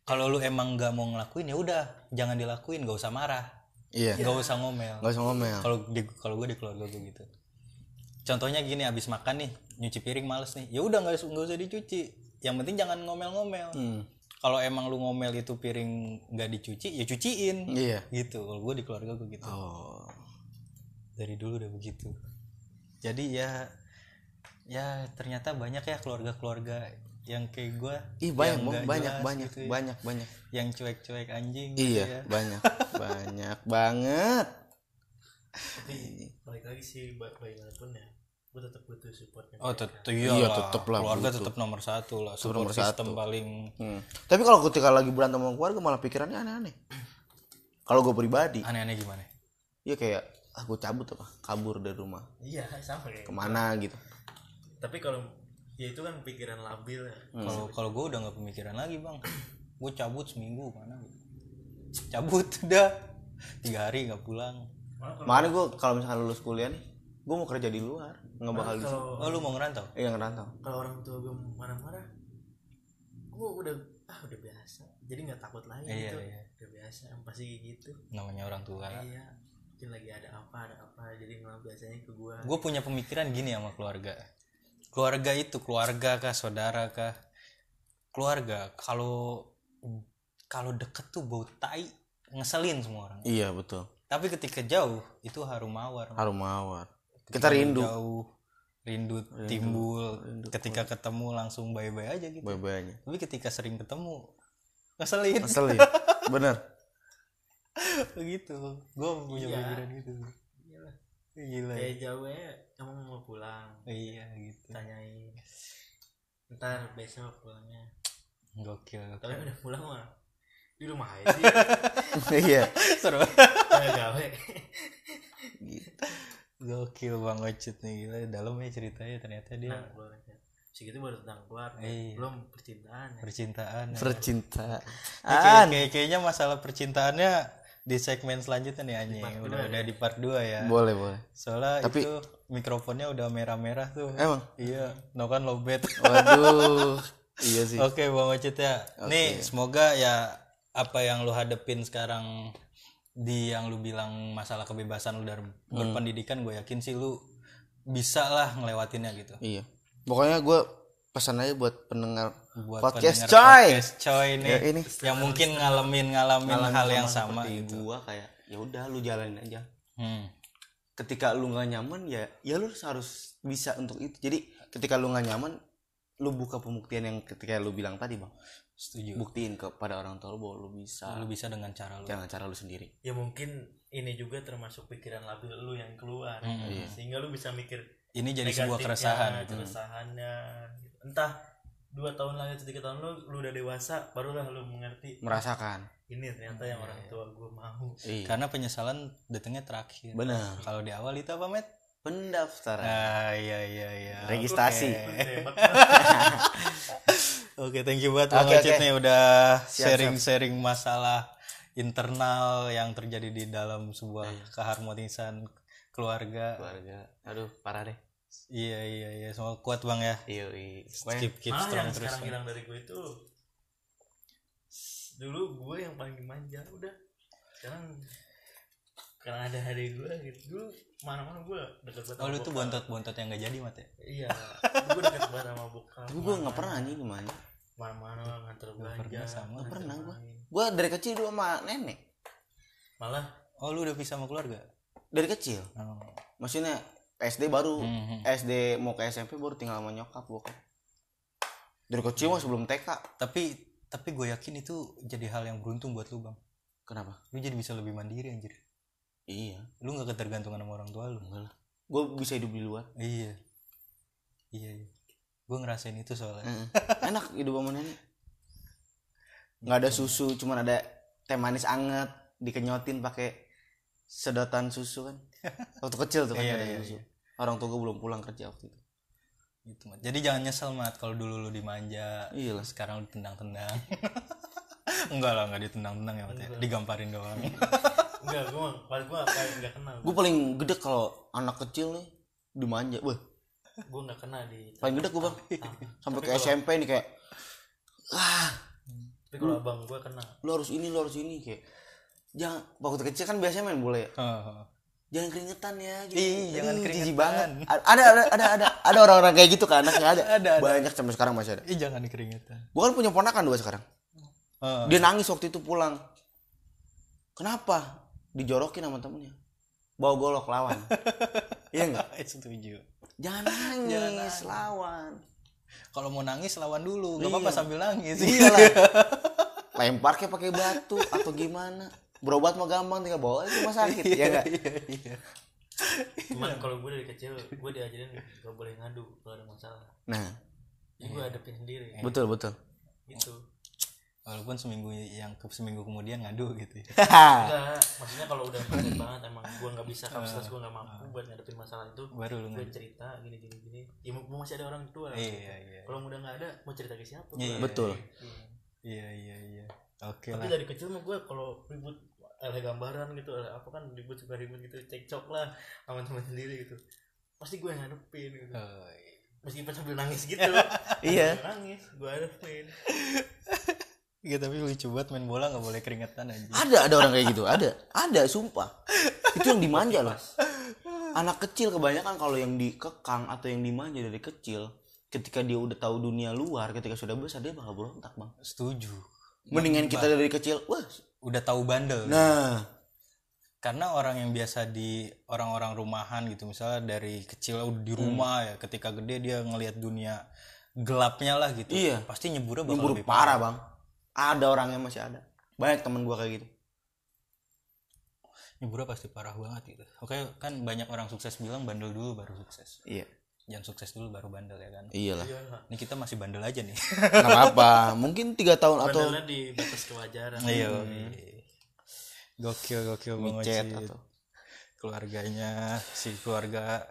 B: Kalau lu emang nggak mau ngelakuin ya udah, jangan dilakuin, gak usah marah,
C: iya
B: nggak usah ngomel.
C: nggak usah ngomel
B: Kalau di kalau gue di keluarga gue gitu. Contohnya gini, abis makan nih, nyuci piring males nih. Ya udah nggak us- nggak usah dicuci. Yang penting jangan ngomel-ngomel.
C: Hmm,
B: Kalau emang lu ngomel itu piring nggak dicuci, ya cuciin.
C: iya
B: Gitu. Kalau gue di keluarga gue gitu.
C: oh
B: dari dulu udah begitu jadi ya ya ternyata banyak ya keluarga-keluarga yang kayak gua
C: ih banyak
B: yang
C: Bang.
B: Ya, nggak
C: banyak
B: jelas
C: banyak
B: gitu ya.
C: banyak banyak
B: yang cuek-cuek anjing
C: iya
B: gitu ya.
C: banyak banyak banget
D: tapi balik lagi sih ba- bagaimanapun ya gue tetap butuh supportnya
B: oh tetep
C: Iya,
B: lah.
C: tetep lah,
B: keluarga
C: butuh.
B: tetap nomor satu lah support
C: nomor
B: system
C: satu.
B: paling
C: Hmm. Tapi kalau ketika lagi berantem sama keluarga malah pikirannya aneh-aneh. Kalau gue pribadi,
B: aneh-aneh gimana
C: ya kayak aku cabut apa, kabur dari rumah,
D: iya sama kayak
C: kemana gitu.
D: tapi kalau ya itu kan pikiran labil ya
B: kalau kalau gue udah nggak pemikiran lagi bang gue cabut seminggu mana gitu. cabut udah tiga hari nggak pulang
D: malah kalau
C: Makanya gue kalau misalkan lulus kuliah nih, gue mau kerja di luar, nggak bakal di sini.
D: kalau
B: oh lu mau ngerantau
C: Iya ngerantau.
D: kalau orang tua gue marah-marah gue udah ah udah biasa jadi nggak takut lagi
B: Iya,
D: gitu
B: iya.
D: udah biasa yang pasti kayak gitu
B: namanya orang tua
D: iya mungkin lagi ada apa ada apa jadi nggak biasanya ke gue
B: gue punya pemikiran gini sama keluarga keluarga itu keluarga kah saudara kah keluarga kalau kalau deket tuh bau tai ngeselin semua orang
C: Iya betul.
B: tapi ketika jauh itu harum mawar
C: Harum mawar. Kita rindu
B: jauh rindu, timbul ketika ketemu langsung bye bye aja gitu
C: bayi-bayinya.
B: tapi ketika sering ketemu ngeselin
C: Ngeselin. ya? Bener.
B: gitu gue punya pemikiran gitu gila
D: Iya. kayak jauh ya emang mau pulang
B: iya gitu
D: tanyain ntar besok pulangnya
B: gokil
D: tapi udah pulang mah di rumah aja sih
C: Iya.
B: seru
D: nggak gawe
B: Gokil Bang Ocit nih gila dalam ya ceritanya ternyata dia
D: Nah, keluar aja. segitu baru tentang keluar
B: Iya.
D: belum percintaan ya.
B: percintaan. ya.
C: Percintaan.
B: Ini kayak- kayak- kayaknya masalah percintaannya di segmen selanjutnya nih anjing. Udah udah di part 2 ya.
C: Boleh boleh.
B: Soalnya
C: Tapi- Eh.
B: itu mikrofonnya udah merah-merah tuh.
C: Emang.
B: Iya, no kan lobet.
C: Waduh. iya sih.
B: Oke Bang Ocit ya. Nih semoga ya apa yang lu hadepin sekarang di yang lu bilang masalah kebebasan lu dari berpendidikan gue yakin sih lu bisa lah ngelewatinnya gitu.
C: Iya. Pokoknya gue pesan aja buat pendengar
B: buat
C: podcast
B: pendengar
C: coy.
B: podcast coy nih
C: Ya, ini.
B: yang mungkin ngalamin ngalamin hal yang sama
C: Seperti
B: gitu
C: gua kayak ya udah lu jalanin aja.
B: Hmm.
C: Ketika lu nggak nyaman ya ya lu harus bisa untuk itu. Jadi ketika lu nggak nyaman lu buka pembuktian yang ketika lu bilang tadi bang
B: setuju
C: buktiin kepada orang tua lu bahwa lu bisa
B: lu bisa dengan cara lu
C: jangan cara lu sendiri
D: ya mungkin ini juga termasuk pikiran labil lu yang keluar Iya. sehingga lu bisa mikir
B: ini jadi sebuah
D: negatifnya,
B: keresahan gitu
D: keresahannya gitu. entah dua tahun lagi atau tiga tahun lu lu udah dewasa barulah lu mengerti
C: merasakan
D: ini ternyata yang orang tua gue mau
C: iya
B: Hmm. karena penyesalan datangnya terakhir
C: benar
B: kalau di awal itu apa met
C: pendaftaran
B: ah iya iya iya
C: registrasi
B: oke thank you banget bang
C: Oke,
B: Ocit
C: oke.
B: nih udah
C: Siap,
B: sharing sharing masalah internal yang terjadi di dalam sebuah
C: Iya.
B: keharmonisan keluarga
C: keluarga aduh parah deh
B: iya iya iya semoga kuat bang ya
C: iya
B: keep keep
D: malah
B: strong
D: yang
B: terus
D: sekarang hilang dari gue itu dulu gue yang paling dimanja udah sekarang karena ada hari gue gitu dulu mana-mana gue deket banget
B: Oh
D: sama
B: lu tuh
D: bokap.
B: bontot-bontot yang gak jadi mat ya?
D: iya gue deket banget sama bokap
C: tapi gue nggak pernah anjing gimana
D: mana-mana nganter belanja
B: pernah sama,
D: nganter
C: pernah gua.
D: main.
C: gue dari kecil dulu sama nenek
D: malah
B: Oh lu udah pisah sama keluarga?
C: dari kecil
B: Oh.
C: maksudnya SD baru
B: Mhm.
C: SD mau ke SMP baru tinggal sama nyokap gue kan dari kecil mah sebelum TK
B: Tapi tapi gue yakin itu jadi hal yang beruntung buat lu bang.
C: kenapa
B: Lu jadi bisa lebih mandiri anjir.
C: iya
B: Lu gak ketergantungan sama orang tua lu.
C: enggak lah gue bisa hidup di luar
B: Iya. iya gue ngerasain itu soalnya
C: Heeh. enak hidup sama nenek nggak ada susu cuman ada teh manis anget dikenyotin pakai sedotan susu kan waktu kecil tuh kan
B: Iya,
C: ada
B: iya,
C: susu orang tua gue belum pulang kerja waktu itu
B: gitu Mat. jadi jangan nyesel mat kalau dulu lu dimanja
C: Iya lah.
B: sekarang lu ditendang-tendang enggak lah enggak ditendang-tendang ya Mat ya. digamparin doang
D: enggak gue paling gue paling nggak kenal
C: gue paling gede kalau anak kecil nih dimanja wah
D: gue nggak kenal di
C: paling gede gue bang sampai ke SMP nih kayak ah
D: tapi kalau abang gue kenal
C: lu harus ini lu harus ini kayak jangan waktu kecil kan biasanya main bola ya
B: Oh.
C: jangan keringetan ya gitu.
B: Ih, jangan
C: Aduh, jijik
B: keringetan.
C: banget A- ada ada ada ada ada orang-orang kayak gitu kan anaknya ada,
B: Ada, ada.
C: banyak sampai sekarang masih ada
B: Ih jangan keringetan.
C: gue kan punya ponakan dua sekarang
B: Oh.
C: dia nangis waktu itu pulang kenapa dijorokin sama temennya bawa golok lawan iya nggak
B: Eh, Setuju.
C: jangan nangis,
B: Jangan nangis.
C: lawan
B: Kalau mau nangis lawan dulu, nggak
C: Iya.
B: apa-apa sambil nangis.
C: iyalah lempar kayak pakai batu atau gimana berobat mah gampang tinggal bawa aja ke rumah sakit ya nggak
B: iya.
C: Iya.
D: cuman kalau gue dari kecil gue diajarin gak boleh ngadu kalau ada masalah
C: nah
D: jadi gue hadapin sendiri
C: betul betul
D: gitu
B: Walaupun seminggu yang ke seminggu kemudian ngadu gitu. ya.
D: enggak maksudnya kalau udah berat banget emang gue nggak bisa kapasitas gue nggak mampu buat ngadepin masalah itu
B: Baru lu
D: gue
B: ngadu.
D: cerita gini gini gini ya mumpung masih ada orang tua
B: Iya iya.
D: kalau udah nggak ada mau cerita ke siapa
B: Iya,
D: gua?
C: betul
B: Iya iya iya. Oke
D: tapi
B: lah.
D: dari kecil mah gue kalau ribut ada gambaran gitu ada apa kan ribut suka ribut gitu cekcok lah sama teman sendiri gitu pasti gue yang ngadepin gitu
B: Oh, iya.
D: meskipun sambil nangis gitu
C: Iya.
D: Sambil nangis gue hadapin
B: Iya tapi lucu banget main bola nggak boleh keringetan aja.
C: ada ada orang kayak gitu ada ada sumpah itu yang dimanja loh anak kecil kebanyakan kalau yang dikekang atau yang dimanja dari kecil ketika dia udah tahu dunia luar ketika sudah besar dia bakal berontak bang
B: Setuju.
C: mendingan kita
B: Iya.
C: dari kecil wah
B: Udah tahu bandel.
C: nah
B: Karena orang yang biasa di orang-orang rumahan gitu, misalnya dari kecil udah di rumah ya, ketika gede dia ngelihat dunia gelapnya lah gitu.
C: Iya.
B: Pasti nyeburnya bakal
C: ini buruk
B: lebih
C: parah bang ada orangnya masih ada banyak teman gua kayak gitu
B: Nyebura pasti parah banget gitu. Oke, kan banyak orang sukses bilang bandel dulu baru sukses.
C: iya
B: Jangan sukses dulu baru bandel ya kan.
C: iyalah
D: iya
B: Ini kita masih bandel aja nih.
C: nggak apa-apa mungkin tiga tahun atau
D: bandelnya di batas kewajaran
B: Iya. Gokil gokil Bang
C: micet
B: Ocit.
C: atau
B: keluarganya si keluarga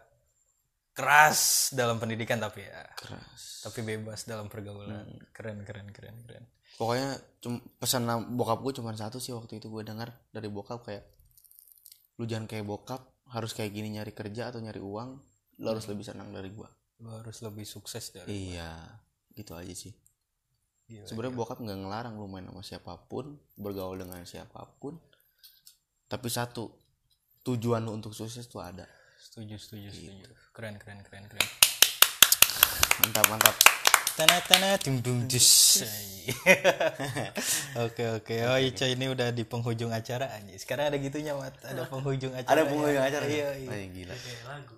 B: keras dalam pendidikan tapi ya
C: keras
B: tapi bebas dalam pergaulan. Keren keren keren keren.
C: pokoknya cum- pesan nam- bokap gue cuma satu sih waktu itu gue dengar dari bokap kayak lu jangan kayak bokap harus kayak gini nyari kerja atau nyari uang lu harus lebih senang dari gue
B: Lu harus lebih sukses dari
C: iya gitu aja sih
B: Gila.
C: sebenarnya bokap nggak ngelarang lu main sama siapapun bergaul dengan siapapun tapi satu tujuan lu untuk sukses tuh ada
B: Setuju setuju setuju. Keren keren keren keren.
C: mantap mantap
B: Tana tana dum dum dus. Oke oke. Oh Ica ini udah di penghujung acara anjir. Sekarang ada gitunya Mat. Ada penghujung acara.
C: ada pengunjung
B: ya.
C: acara
B: Iya
C: ya?
B: iya.
C: Ay, gila
D: kayak lagu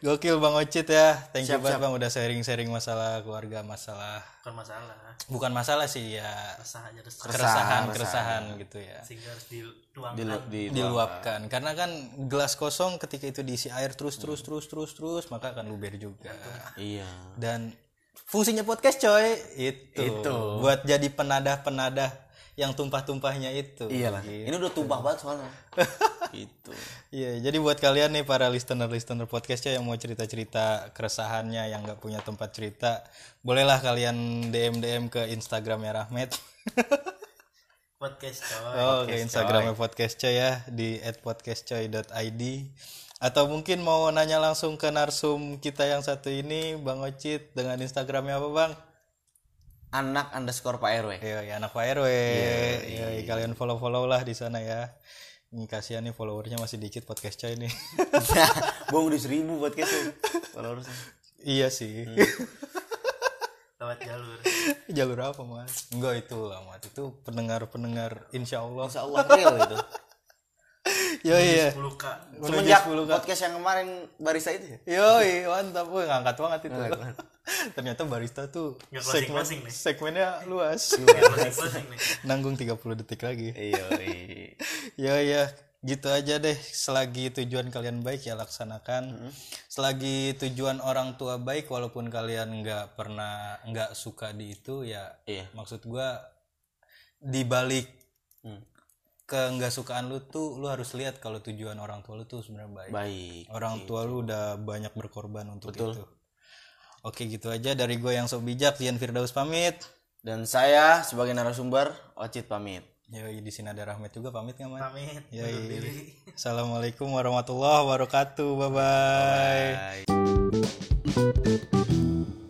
B: Gokil Bang Ocit ya. Thank you
C: Siap,
B: banget Bang udah sharing-sharing masalah keluarga, masalah
D: bukan masalah
B: bukan masalah sih ya
D: resah aja resah
B: keresahan keresahan gitu ya. Gitu
D: sehingga harus dituangkan
C: di, di,
B: diluapkan karena kan gelas kosong ketika itu diisi air terus terus terus terus terus maka akan luber juga
C: iya
B: dan fungsinya podcast coy itu,
C: Itu.
B: buat jadi penadah-penadah yang tumpah-tumpahnya itu
C: iyalah ini udah tumpah banget soalnya Iya. gitu
B: Iya, jadi buat kalian nih para listener-listener podcastnya yang mau cerita-cerita keresahannya yang nggak punya tempat cerita, bolehlah kalian DM-DM ke Instagramnya Rahmat.
D: podcast coy
B: Oh, ke Instagramnya Podcast Coy ya di @podcastcoy.id atau mungkin mau nanya langsung ke narsum kita yang satu ini Bang Ocit dengan Instagramnya apa Bang?
C: anak underscore pak rw
B: Iya, ya, anak Pak RW. Yoi, kalian follow-follow lah di sana ya. Ini kasihan nih followernya masih dikit podcast coy nih.
C: gue udah seribu buat kesu followersnya
B: iya sih.
D: lewat jalur
B: Jalur apa mas? Enggak itu lah mas. Itu pendengar-pendengar insya Allah.
C: insya Allah real itu
B: Yo iya.
D: 10k
C: semenjak podcast yang kemarin barista itu ya
B: Yoi, iya, mantap. Wih, ngangkat banget itu. Ternyata barista tuh
D: Nggak closing-closing
B: segmen,
D: nih.
B: segmennya luas. Iya.
D: closing closing nih
B: Nanggung 30 detik lagi.
C: iya
B: Ya ya, gitu aja deh selagi tujuan kalian baik ya laksanakan selagi tujuan orang tua baik walaupun kalian nggak pernah nggak suka di itu ya
C: Iya.
B: maksud gua dibalik
C: Hmm.
B: ke nggak sukaan lu tuh lu harus lihat kalau tujuan orang tua lu tuh sebenarnya baik Iya,
C: Baik.
B: orang tua lu udah banyak berkorban untuk
C: Betul.
B: itu oke gitu aja dari gue yang sok bijak Zian Firdaus pamit
C: Dan saya sebagai narasumber Ocit pamit.
B: Yoi di sini ada Rahmat juga pamit nggak man
D: Pamit.
B: Yoi.
D: undur diri.
B: Assalamualaikum warahmatullahi wabarakatuh bye bye
C: Bye.